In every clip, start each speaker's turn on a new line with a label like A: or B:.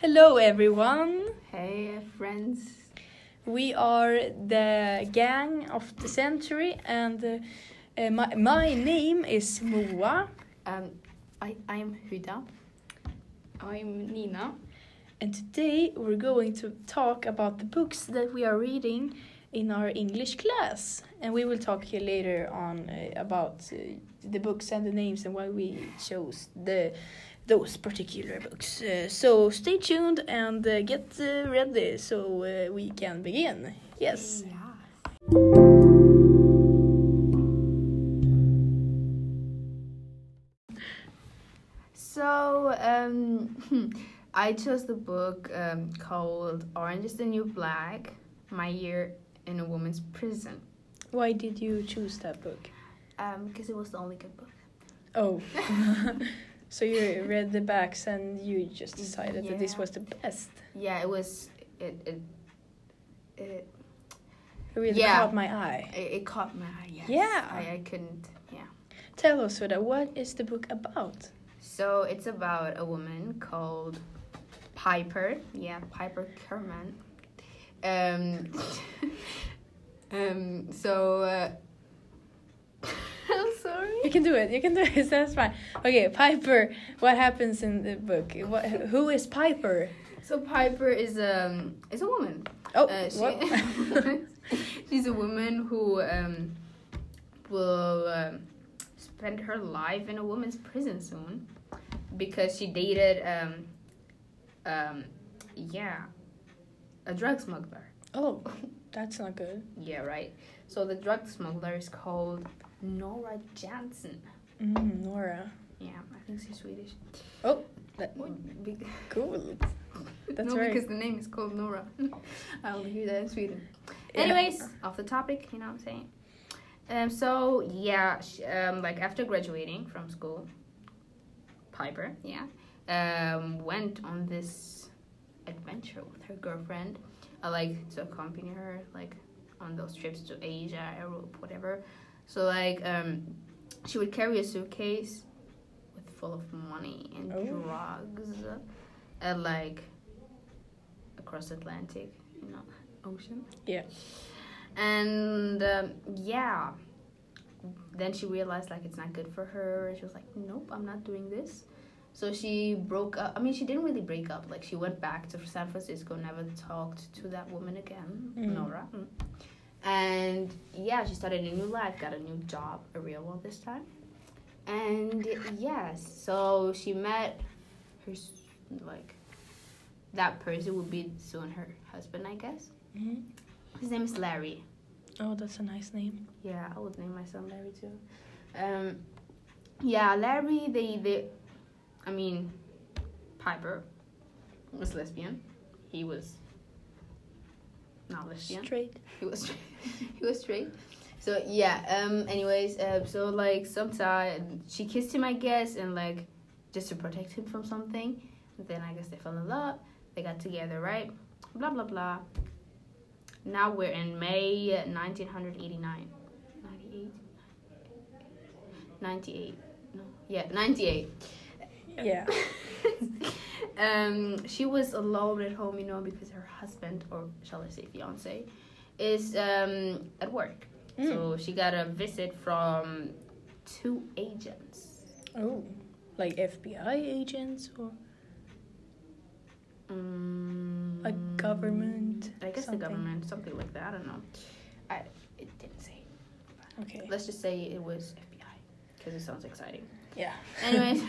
A: Hello, everyone.
B: Hey, friends.
A: We are the gang of the century, and uh, uh, my, my name is Moa,
B: Um, I, I'm Huda. I'm Nina.
A: and today we're going to talk about the books that we are reading in our English class. And we will talk here later on uh, about uh, the books and the names and why we chose the those particular books. Uh, so stay tuned and uh, get uh, ready so uh, we can begin. Yes.
B: Yeah. So, um, I chose the book um, called Orange is the New Black My Year in a Woman's Prison
A: Why did you choose that book?
B: because Um, it was the only good book.
A: Oh. so you read the backs and you just decided that this
B: Mm, Yeah.
A: was the best.
B: Yeah, it was. It, it, it
A: It really
B: Yeah.
A: caught my eye.
B: It, it caught my eye. Yes.
A: Yeah.
B: I, I couldn't. Yeah.
A: Tell us, Huda, what is the book about?
B: So it's about a woman called Piper. Yeah, Piper Kerman. Um. um. So. Uh, I'm
A: You
B: sorry.
A: can do it. You can do it. That's fine. Okay, Piper. What happens in the book? What, who is Piper?
B: So Piper is um is a woman.
A: Oh,
B: Uh, she,
A: what?
B: she's a woman who um will um, spend her life in a woman's prison soon because she dated um um yeah a drug smuggler.
A: oh, that's not good.
B: Yeah, right. So the drug smuggler is called Nora Jansen.
A: Mm, Nora.
B: Yeah, I think she's Swedish.
A: Oh, that-
B: Be-
A: Cool. That's
B: no,
A: right.
B: because the name is called Nora. I only hear that in Sweden.
A: Yeah.
B: Anyways, off the topic, you know what I'm saying? Um, so yeah, sh um, like after graduating from school, Piper, yeah, um, went on this adventure with her girlfriend, uh, like to accompany her, like on those trips to Asia, Europe, whatever. So like, um, she would carry a suitcase with full of money and
A: Oh.
B: drugs, and like across Atlantic, you know, ocean.
A: Yeah.
B: And um, yeah, then she realized like it's not good for her. She was like, nope, I'm not doing this. So she broke up. I mean, she didn't really break up. Like she went back to San Francisco, never talked to that woman again,
A: Mm.
B: Nora. Mm. And yeah, she started a new life, got a new job, a real one this time. And yes, so she met her s- like that person would be soon her husband, I guess.
A: Mhm.
B: His name is Larry.
A: Oh, that's a nice name.
B: Yeah, I would name my son Larry too. Um, yeah, Larry. They they, I mean, Piper was lesbian. He was not lesbian.
A: Straight.
B: He was straight. he was straight. So yeah. Um. Anyways. Uh, so like sometime she kissed him, I guess, and like just to protect him from something. Then I guess they fell in love. They got together, right? Blah blah blah. Now we're in May 1989. 98. 98. No. Yeah, 98.
A: Yeah.
B: um, she was alone at home, you know, because her husband, or shall I say fiance, is um, at work.
A: Mm.
B: So she got a visit from two agents.
A: Oh, like FBI agents or
B: Mm,
A: a government?
B: I guess
A: something.
B: the government, something like that. I don't know. I, it didn't say.
A: Okay.
B: Let's just say it was FBI because it sounds exciting.
A: Yeah.
B: Anyways,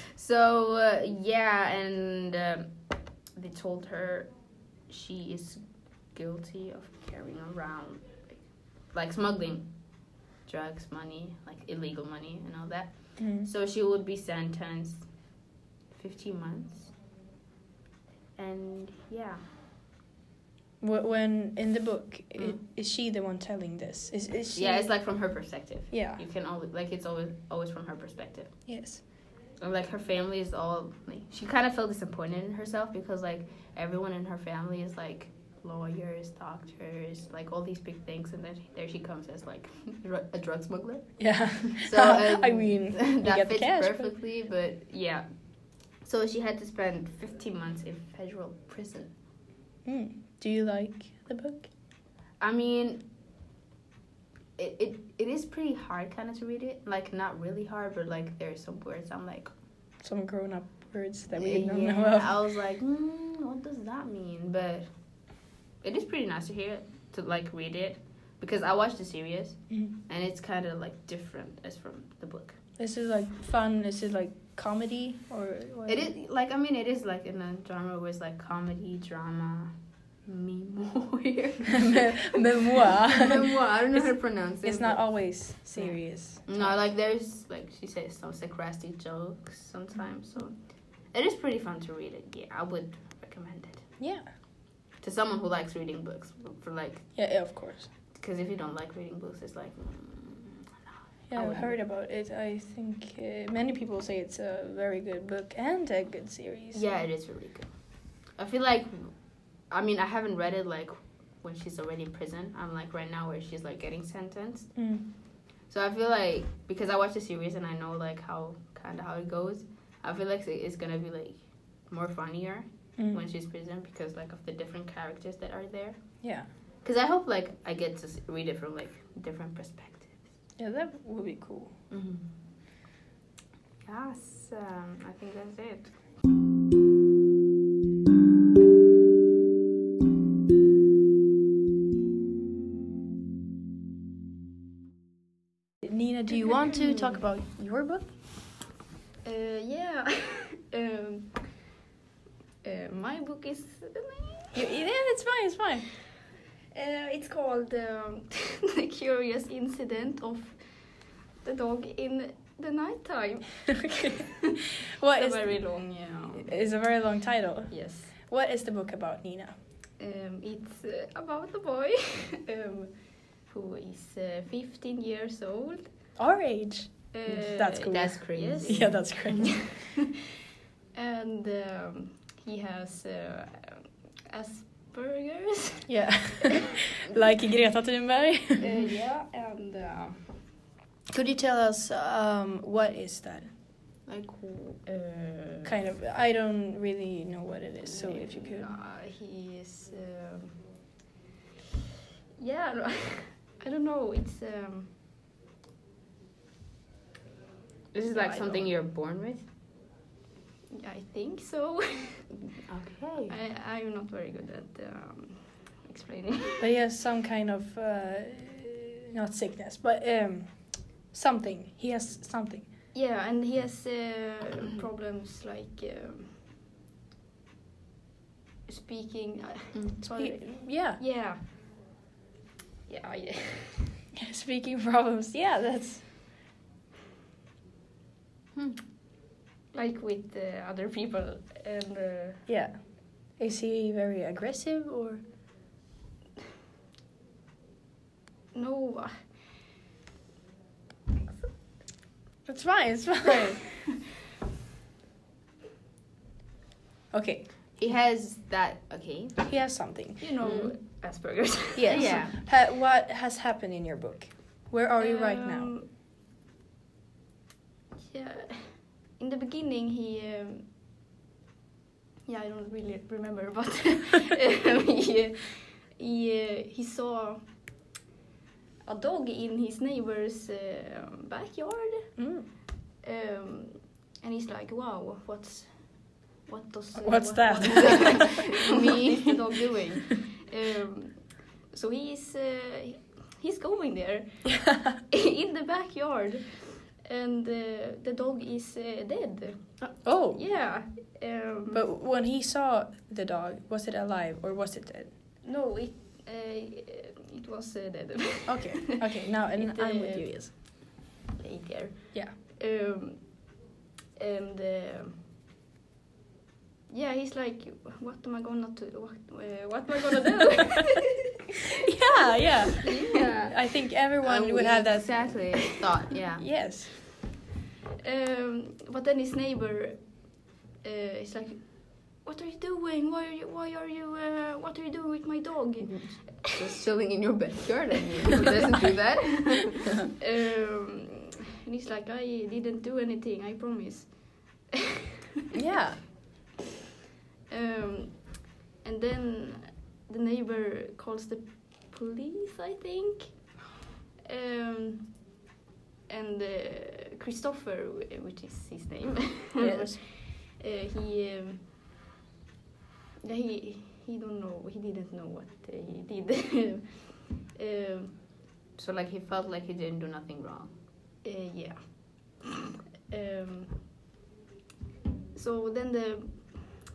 B: so uh, yeah, and um, they told her she is guilty of carrying around like, like smuggling drugs, money, like illegal money, and all that.
A: Mm.
B: So she would be sentenced 15 months. And yeah,
A: Wh- when in the book i is
B: Mm.
A: she the one telling this is, is she
B: yeah, it's like from her perspective.
A: yeah
B: You can always like it's always always from her perspective.
A: yes
B: And, like her family is all like she kind of felt disappointed in herself because like everyone in her family is like lawyers doctors like all these big things and then there she comes as like dr- a drug smuggler
A: yeah
B: so um,
A: i mean you
B: that
A: get the
B: fits
A: cash, but-
B: perfectly but yeah So she had to spend 15 months in federal prison.
A: Mm. Do you like the book?
B: I mean, it, it it is pretty hard kind of to read it. Like not really hard, but like there's some words I'm like
A: Some grown up words that we don't
B: yeah.
A: know of.
B: I was like, mm, what does that mean? But it is pretty nice to hear it, to like read it because I watched the series
A: Mhm.
B: and it's kind of like different as from the book.
A: This is like fun. This is like comedy or. What?
B: It is like I mean it is like in a genre where it's like comedy, drama, memoir,
A: Me- memoir.
B: memoir. I don't know how to
A: It's-
B: pronounce it.
A: It's
B: but-
A: not always serious.
B: No, like there's like she says some sarcastic jokes sometimes, so it is pretty fun to read it. Yeah, I would recommend it
A: Yeah.
B: to someone who likes reading books. For like,
A: Yeah. yeah, Of course.
B: because if you don't like reading books, it's like mm, I
A: Yeah, I've
B: wouldn't.
A: heard about it. I think uh, many people say it's a very good book and a good series.
B: yeah, it is really good. I feel like, I mean, I haven't read it like when she's already in prison. I'm like right now where she's like getting sentenced.
A: Mm.
B: So I feel like because I watched the series and I know like how kind of how it goes, I feel like it's gonna be like more funnier
A: Mm.
B: when she's prison because like of the different characters that are there.
A: Yeah.
B: Because I hope like I get to s- read it from like different perspectives.
A: Yeah, that would be cool.
B: Mm-hmm. Yes, um, I think that's it.
A: Nina, do you want to talk about your book?
B: Uh, yeah. um, uh, my book is.
A: You, yeah, it's fine. It's fine.
C: Uh, it's called um, The Curious Incident of the Dog in the Nighttime.
A: okay. What is?
B: very long, yeah.
A: It's a very long title.
B: Yes.
A: What is the book about, Nina?
C: Um, it's uh, about a boy um, who is uh, 15 years old.
A: Our age.
C: Uh,
A: Mm, That's cool.
B: That's crazy.
C: Yes.
A: Yeah, that's great.
C: And um, he has uh, Asperger's.
A: yeah. like Greta Thunberg.
C: uh, yeah, and uh,
B: um,
A: Could you tell us um, what is that
B: Like, uh,
A: kind of? I don't really know what it is, so if you could.
C: Uh, he is. Um, yeah, no, I don't know. It's. Um,
B: This is
C: Yeah,
B: like
C: I
B: something
C: don't-
B: you're born with.
C: I think so.
B: Okay.
C: I, I'm not very good at um, explaining.
A: But he has some kind of uh, not sickness, but um, something. He has something.
C: yeah, and he has uh, problems like um, speaking. Uh,
A: He-
C: sorry.
A: yeah.
C: Yeah. Yeah, yeah.
A: Speaking problems. Yeah, that's
C: like with uh, other people and. Uh,
A: yeah. Is he very aggressive or?
C: no, uh,
A: It's fine. It's fine. okay,
B: He has that. Okay.
A: he has something. Mm.
C: you know, Asperger's.
A: Yes.
B: Yeah.
A: Ha- what has happened in your book? Where are you right now?
C: Um, Yeah, in the beginning he. Um, yeah, I don't really remember, but um, he, uh, he, uh, he saw a dog in his neighbor's uh, backyard,
A: Mm.
C: um, and he's like, "Wow, what's what does uh,
A: What's
C: what-
A: that?
C: what- what is the dog doing?" Um, so he's uh, he's going there in the backyard and uh, the dog is uh, dead
A: oh,
C: yeah um,
A: but when he saw the dog, was it alive or was it dead?
C: no it uh, it was uh, dead
A: Okay, okay, now and
C: It,
A: I'm
C: uh,
A: with you. Yes.
C: later
A: Yeah.
C: um, and uh, yeah he's like what am i gonna do what, uh, what am i gonna do
A: Yeah, yeah.
B: Yeah.
A: I think everyone
C: Oh,
B: Um,
A: would have that.
B: exactly thought. Yeah.
A: Yes.
C: Um, but then his neighbor uh, is like, "What are you doing? Why are you? Why are you? Uh, what are you doing with my dog?"
B: Just chilling in your backyard. I mean, who doesn't do that?
C: Um, and he's like, "I didn't do anything. I promise."
A: yeah.
C: Um, and then the neighbor calls the police, I think. Um, and uh, Christopher, wh- which is his name,
A: Yes.
C: uh, he, um, yeah, he he don't know. He didn't know what uh, he did. um,
B: So like he felt like he didn't do nothing wrong.
C: Uh, yeah. Um, so then the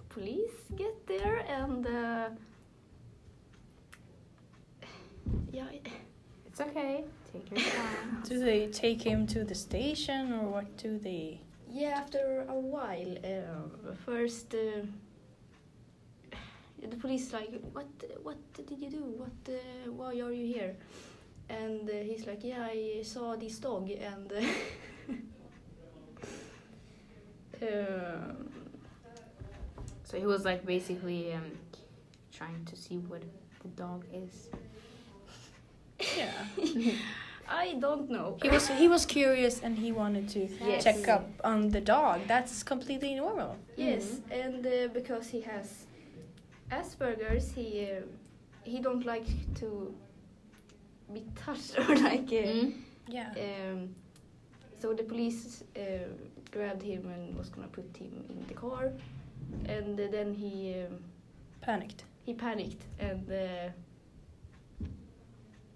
C: police get there and uh, yeah,
B: It's okay. Take your time.
A: Do they take him to the station or what do they?
C: yeah. After a while, um, first uh, the police like, what, what did you do? What, uh, why are you here? And uh, he's like, yeah, I saw this dog and. uh, um,
B: so he was like basically um, trying to see what the dog is.
A: Yeah.
C: I don't know.
A: He was he was curious and he wanted to
C: Yes.
A: check up on the dog. That's completely normal.
C: Yes,
A: Mm-hmm.
C: and uh, because he has Asperger's, he uh, he don't like to be touched or like. Uh,
B: Hmm?
A: Yeah.
C: um, so the police uh, grabbed him and was gonna put him in the car, and uh, then he um,
A: Panicked.
C: he panicked and. Uh,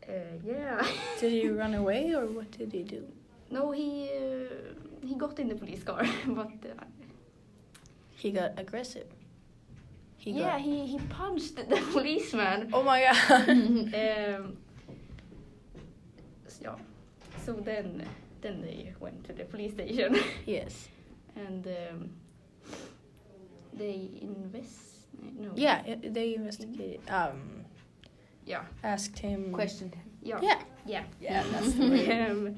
C: uh, yeah.
A: Did he run away or what did he do?
C: No, he uh, he got in the police car, but uh,
A: He got aggressive. He
C: yeah,
A: Got...
C: he he punched the policeman.
A: Oh my god.
C: Um, so, yeah. So then, then they went to the police station
A: yes.
C: and um, they invest. No.
A: Yeah. i- They investigated. Um.
C: Yeah.
A: Asked him.
B: Questioned him.
C: Yeah.
A: Yeah.
C: Yeah.
A: Yeah. That's the word.
C: um,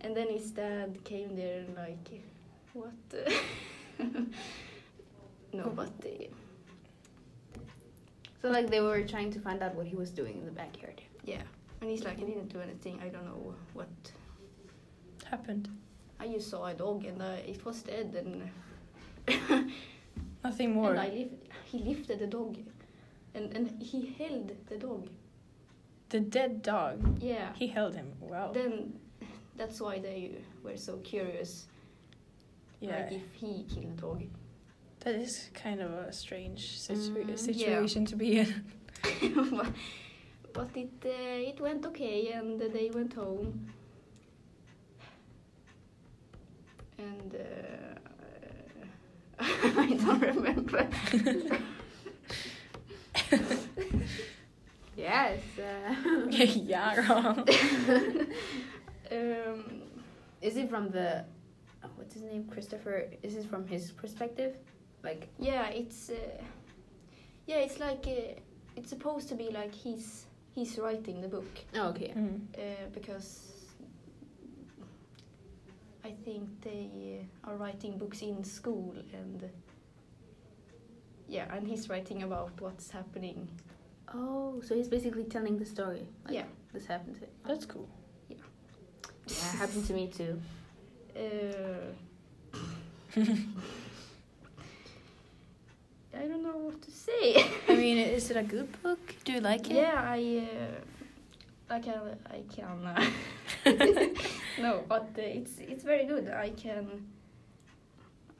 C: and then his dad came there and like, what? no, but uh,
B: So like they were trying to find out what he was doing in the backyard.
C: yeah. And he's like, I didn't do anything. I don't know what.
A: happened.
C: I just saw a dog and uh, it was dead and.
A: Nothing more.
C: And I lift, he lifted the dog. And, and he held the dog.
A: The dead dog.
C: Yeah.
A: He held him. Wow.
C: Then that's why they were so curious.
A: yeah.
C: Like if he killed the dog.
A: That is kind of a strange situa-
B: Mm, yeah.
A: situation to be in.
C: but, but it, uh, it went okay and they went home. And uh, I don't remember.
B: Yes. Uh,
A: yeah. wrong.
C: Um,
B: is it from the oh, what's his name Christopher? Is it from his perspective? Like
C: Yeah, it's uh, yeah, it's like uh, it's supposed to be like he's he's writing the book
B: oh okay.
A: Mm.
C: uh, because I think they uh, are writing books in school and yeah, and he's writing about what's happening.
B: Oh, so he's basically telling the story. Like,
C: Yeah.
B: This happened to
A: That's cool.
B: yeah, happened to me too.
C: Uh, I don't know what to say.
A: I mean, is it a good book? Do you like it?
C: Yeah, I, uh, I can, I can. Uh, no, but uh, it's it's very good. I can.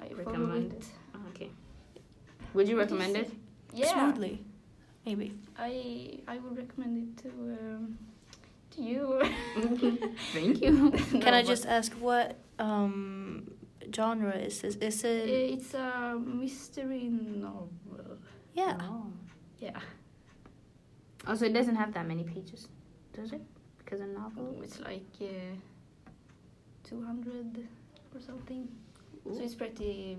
C: I follow
B: Recommend
C: it.
B: Oh, okay. Would you
C: What do you
B: recommend it?
C: say? Yeah,
A: Smoothly. Maybe.
C: I I would recommend it to um, to you.
B: Thank you.
A: Mm-hmm. Can I just ask what um, genre is this? Is
C: Uh,
A: it.
C: It's a mystery novel.
A: yeah.
B: Oh.
C: Yeah,
B: Also, it doesn't have that many pages, does it? Because a novel.
A: Oh.
C: it's like uh, two hundred or something.
B: Ooh.
C: So it's pretty.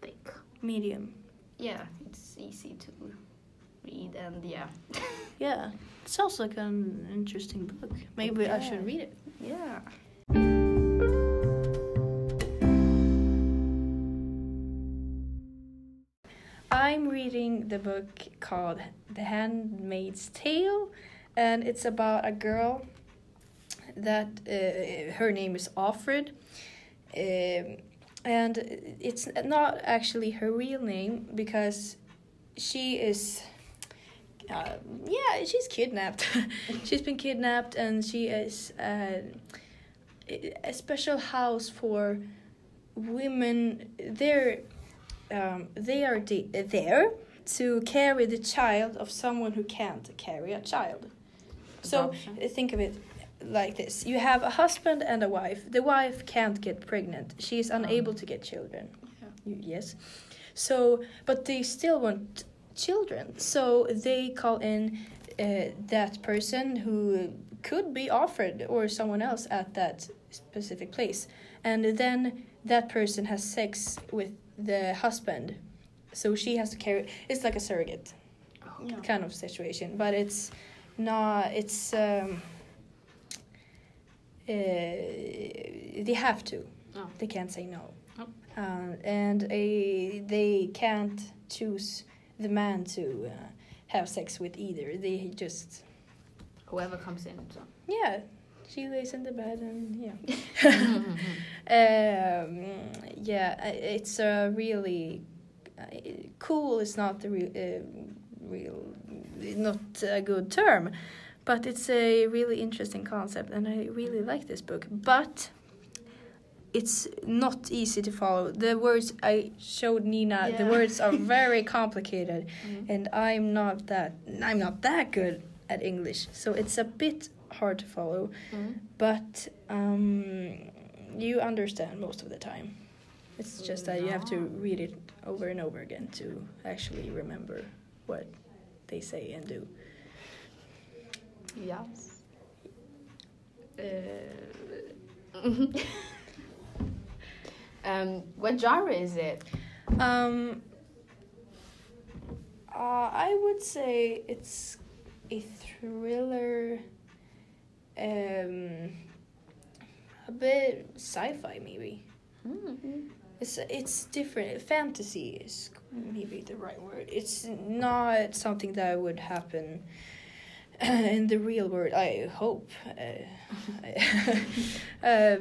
B: Thick.
A: Medium.
C: Yeah, it's easy to read and yeah.
A: Yeah. It sounds like an interesting book. Maybe I should
B: Yeah.
A: read it.
C: Yeah.
A: I'm reading the book called The Handmaid's Tale, and it's about a girl uh, that uh, her name is Offred. Um, and it's not actually her real name because she is uh, yeah she's kidnapped she's been kidnapped and she is uh, a special house for women they're um, they are de- there to carry the child of someone who can't carry a child so
B: Adoption.
A: Uh, think of it like this you have a husband and a wife the wife can't get pregnant she is unable to get children
C: Yeah.
A: Y- yes so but they still want children so they call in uh, that person who could be offered or someone else at that specific place and then that person has sex with the husband so she has to carry it's like a surrogate
B: Oh,
C: Yeah.
A: kind of situation but it's not it's um uh, they have to
B: Oh.
A: they can't say no
B: Oh.
A: um, and a, they can't choose the man to uh, have sex with either they just
B: Whoever comes in. So.
A: yeah she lays in the bed and yeah Um, yeah, I- it's a really uh, cool. It's not the real, uh, real, not a good term, but it's a really interesting concept, and I really like this book. But it's not easy to follow. The words I showed Nina, the
C: Yeah.
A: words are very complicated,
B: Mhm.
A: and I'm not that I'm not that good at English, so it's a bit hard to follow but um, you understand most of the time. It's just that you have to
B: Yeah.
A: read it over and over again to actually remember what they say and do.
B: Yes. um, what genre is it?
A: Um, uh, I would say it's a thriller, um, a bit sci-fi maybe.
B: Mm-hmm.
A: It's it's different. Fantasy is maybe the right word. It's not something that would happen uh, in the real world. I hope, uh, uh,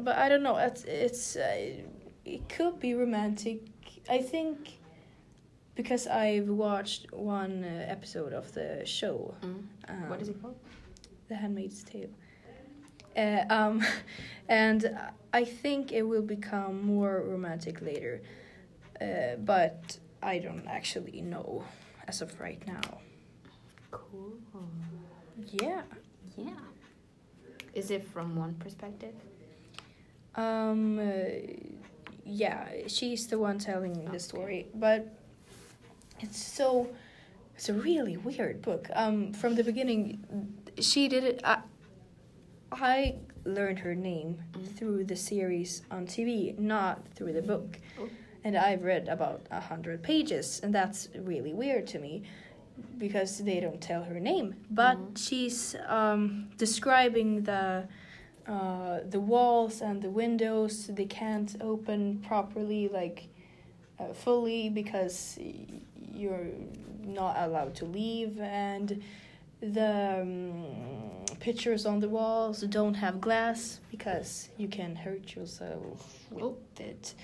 A: but I don't know. It's it's uh, it could be romantic. I think because I've watched one uh, episode of the show. Um,
B: Mm-hmm. What is it called?
A: the Handmaid's Tale. Uh, um, and I think it will become more romantic later, uh, but I don't actually know as of right now.
B: Cool.
A: Yeah.
B: Yeah. Is it from one perspective?
A: Um. Uh, yeah, she's the one telling
B: Okay.
A: the story, but it's so. It's a really weird book. Um, from the beginning, she did it. I, I learned her name
B: Mm.
A: through the series on TV, not through the book.
B: Oh.
A: And I've read about a hundred pages, and that's really weird to me because they don't tell her name. But
B: Mhm.
A: she's um, describing the uh, the walls and the windows. They can't open properly, like uh, fully, because y- you're not allowed to leave and the um, pictures on the walls don't have glass because you can hurt yourself with
B: Oh.
A: it.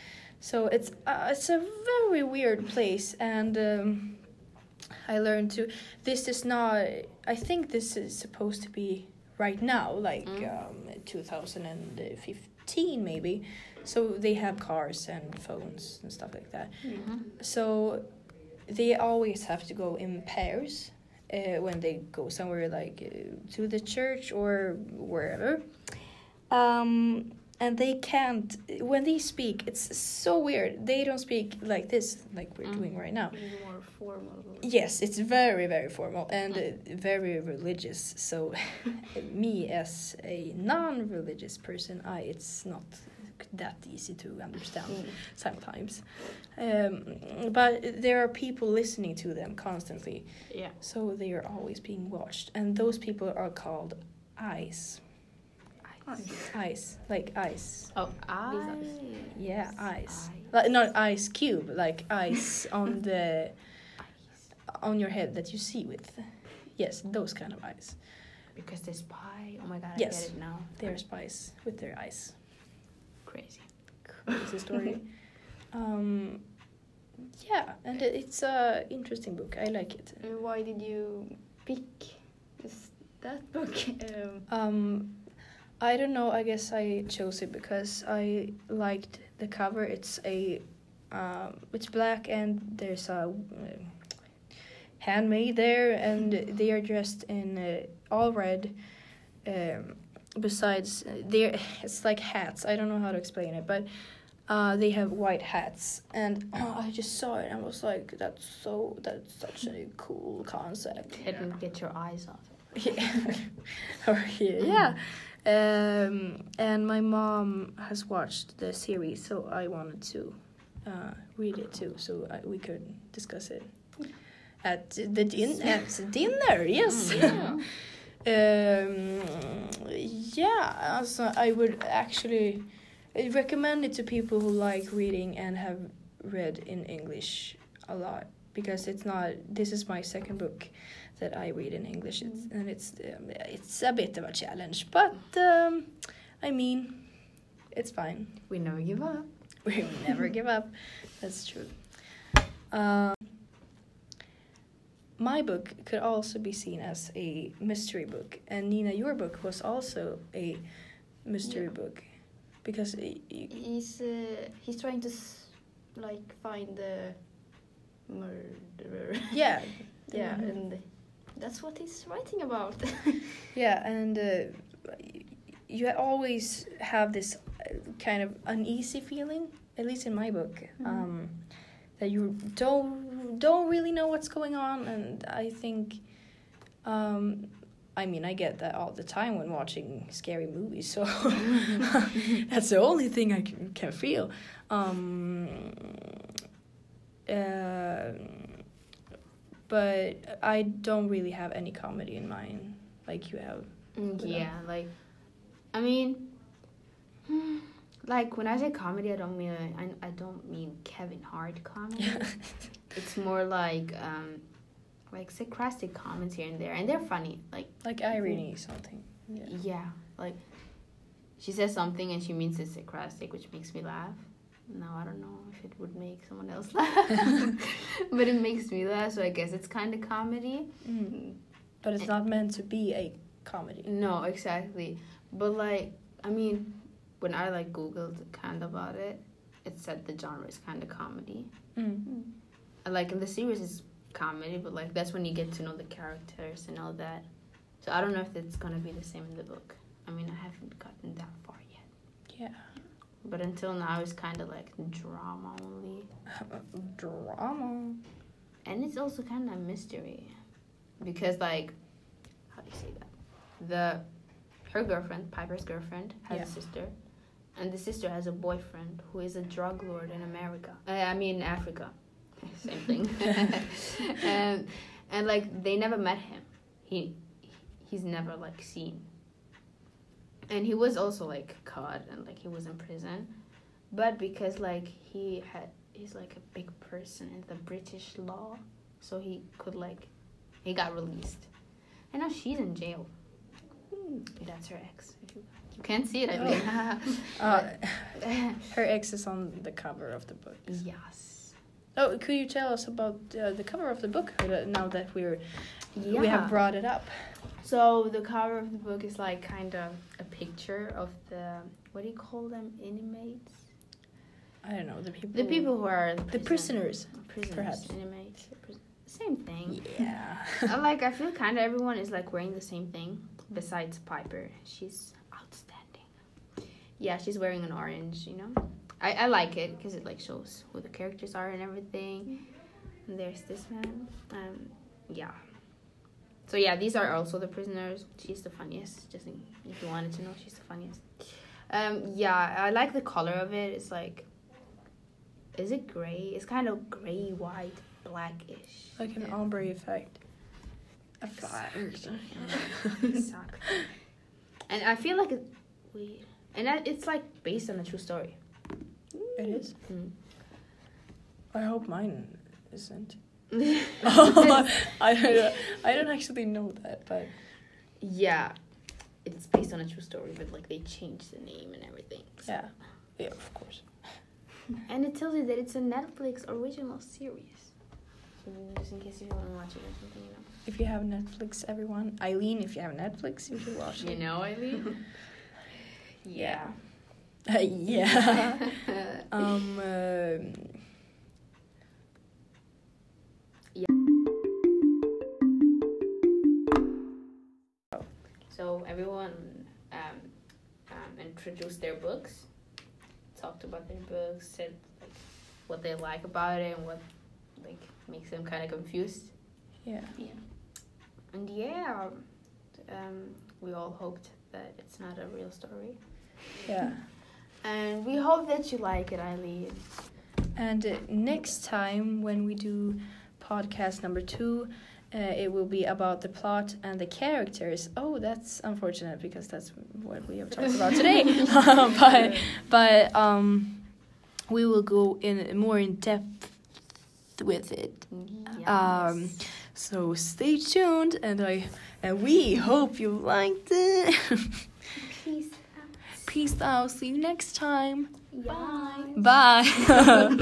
A: So it's uh, it's a very weird place, and um, I learned to. This is not. I think this is supposed to be right now, like
B: Mm.
A: um, 2015 maybe. So they have cars and phones and stuff like that. So they always have to go in pairs uh, when they go somewhere like uh, to the church or wherever. Um, and they can't, when they speak, it's so weird. They don't speak like this, like we're
B: Mm.
A: doing right now.
C: Maybe more formal.
A: Yes, it's very, very formal and uh, very religious. So, me as a non religious person, I, it's not that easy to understand
B: Mm-hmm.
A: sometimes. Um, but there are people listening to them constantly,
B: Yeah.
A: so they are always being watched. And those people are called eyes. Eyes. Like eyes.
B: Oh, eyes.
A: Yeah, eyes. Like not ice cube, like ice on the on your head that you see with. Yes, those kind of eyes.
B: Because they spy. Oh my god, I
A: Yes.
B: get it now.
A: They are spies with their eyes.
B: crazy.
A: is the story. um, yeah, and it- it's a interesting book. I like it.
C: Uh, why did you pick this, that book? Um,
A: Um, I don't know. I guess I chose it because I liked the cover. It's a, um, it's black and there's a um, handmaid there, and they are dressed in uh, all red. Um, besides, they it's like hats. I don't know how to explain it, but. Uh, they have white hats, and I just saw it and was like, "That's so. That's such a cool concept."
B: Couldn't get your eyes off it.
A: Yeah. Or here, yeah. Um, and my mom has watched the series, so I wanted to uh, read it too, so I, we could discuss it at the din- at dinner. Yes.
C: Mm,
B: Yeah.
A: Um, yeah, also I would actually I recommend it to people who like reading and have read in English a lot because it's not. This is my second book that I read in English, it's, and it's um, it's a bit of a challenge, but um, I mean, it's fine.
B: We never give up.
A: We will never give up. That's true. Um, my book could also be seen as a mystery book, and Nina, your book was also a mystery book, because y- y-
C: he's uh, he's trying to s- like find the murderer.
A: yeah,
C: yeah,
A: Mhm.
C: and that's what he's writing about.
A: yeah, and uh, you always have this uh, kind of uneasy feeling, at least in my book,
C: Mhm.
A: um, that you don't don't really know what's going on, and I think, um, I mean, I get that all the time when watching scary movies, so that's the only thing I can, can feel. Um, uh, but I don't really have any comedy in mind, like you have.
B: Mm,
A: But, uh,
B: Yeah, like, I mean, like when I say comedy, I don't mean I, I don't mean Kevin Hart comedy. it's more like um, like sarcastic comments here and there, and they're funny. Like
A: like irony, something.
B: yeah.
A: Yeah.
B: like she says something and she means it's sarcastic, which makes me laugh. Now I don't know if it would make someone else laugh, but it makes me laugh. So I guess it's kind of comedy.
A: Mm. But it's not meant to be a comedy.
B: No, exactly. But like, I mean, when I like googled kind of about it, it said the genre is kind of comedy.
A: Mm.
B: And, Like in the series, it's comedy, but like that's when you get to know the characters and all that. So I don't know if it's gonna be the same in the book. I mean, I haven't gotten that far yet.
A: Yeah.
B: But until now, it's kind of like drama only,
A: Uh, Drama.
B: and it's also kind of mystery, because like, how do you say that? The her girlfriend, Piper's girlfriend, has
A: Yeah.
B: a sister, and the sister has a boyfriend who is a drug lord in America. Uh, I mean Africa, same thing. and and like they never met him. He he's never like seen. And he was also like caught and like he was in prison, but because like he had he's like a big person in the British law, so he could like he got released. And now she's in jail. That's her ex. If you, you can't see it, I mean.
A: Uh, her ex is on the cover of the book.
B: yes.
A: Oh, could you tell us about uh, the cover of the book uh, now that we're
B: Yeah.
A: we have brought it up?
B: So the cover of the book is like kind of a picture of the what do you call them inmates?
A: I don't know the people.
B: The people who are
A: The prisoners.
B: prisoners,
A: perhaps.
B: inmates, pris- same thing.
A: Yeah.
B: I like I feel kind of everyone is like wearing the same thing besides Piper. She's outstanding. Yeah, she's wearing an orange. You know, I I like it because it like shows who the characters are and everything. And there's this man. Um, yeah. So yeah, these are also the prisoners. She's the funniest. Just in, if you wanted to know, she's the funniest. Um, yeah, I like the color of it. It's like, is it gray? It's kind of gray, white, blackish.
A: like an
B: Yeah.
A: ombre effect. Effect.
B: Exactly. Exactly. And I feel like it, wait, and that, it's like based on a true story.
A: It is.
B: Hmm.
A: I hope mine isn't. I don't. I don't actually know that, but
B: yeah, it's based on a true story, but like they changed the name and everything.
A: yeah, yeah, of course.
C: and it tells you that it's a Netflix original series.
B: So just in case if you want to watch it or something, you know.
A: If you have Netflix, everyone. Eileen, if you have Netflix, you should watch
B: You
A: it.
B: know, I mean.
A: Yeah. yeah. um, um,
B: so everyone um, um, introduced their books, talked about their books, said like what they like about it and what like makes them kind of confused.
A: yeah.
B: And yeah, um, we all hoped that it's not a real story.
A: Yeah.
B: And we hope that you like it, Eileen.
A: And uh, next time when we do podcast number two, uh, it will be about the plot and the characters. Oh, that's unfortunate because that's what we have talked about today. Uh, but but um, we will go in more in depth with it. Um, So stay tuned, and I and we hope you liked it.
C: Peace.
A: Peace out. See you next time.
C: Bye.
A: Bye.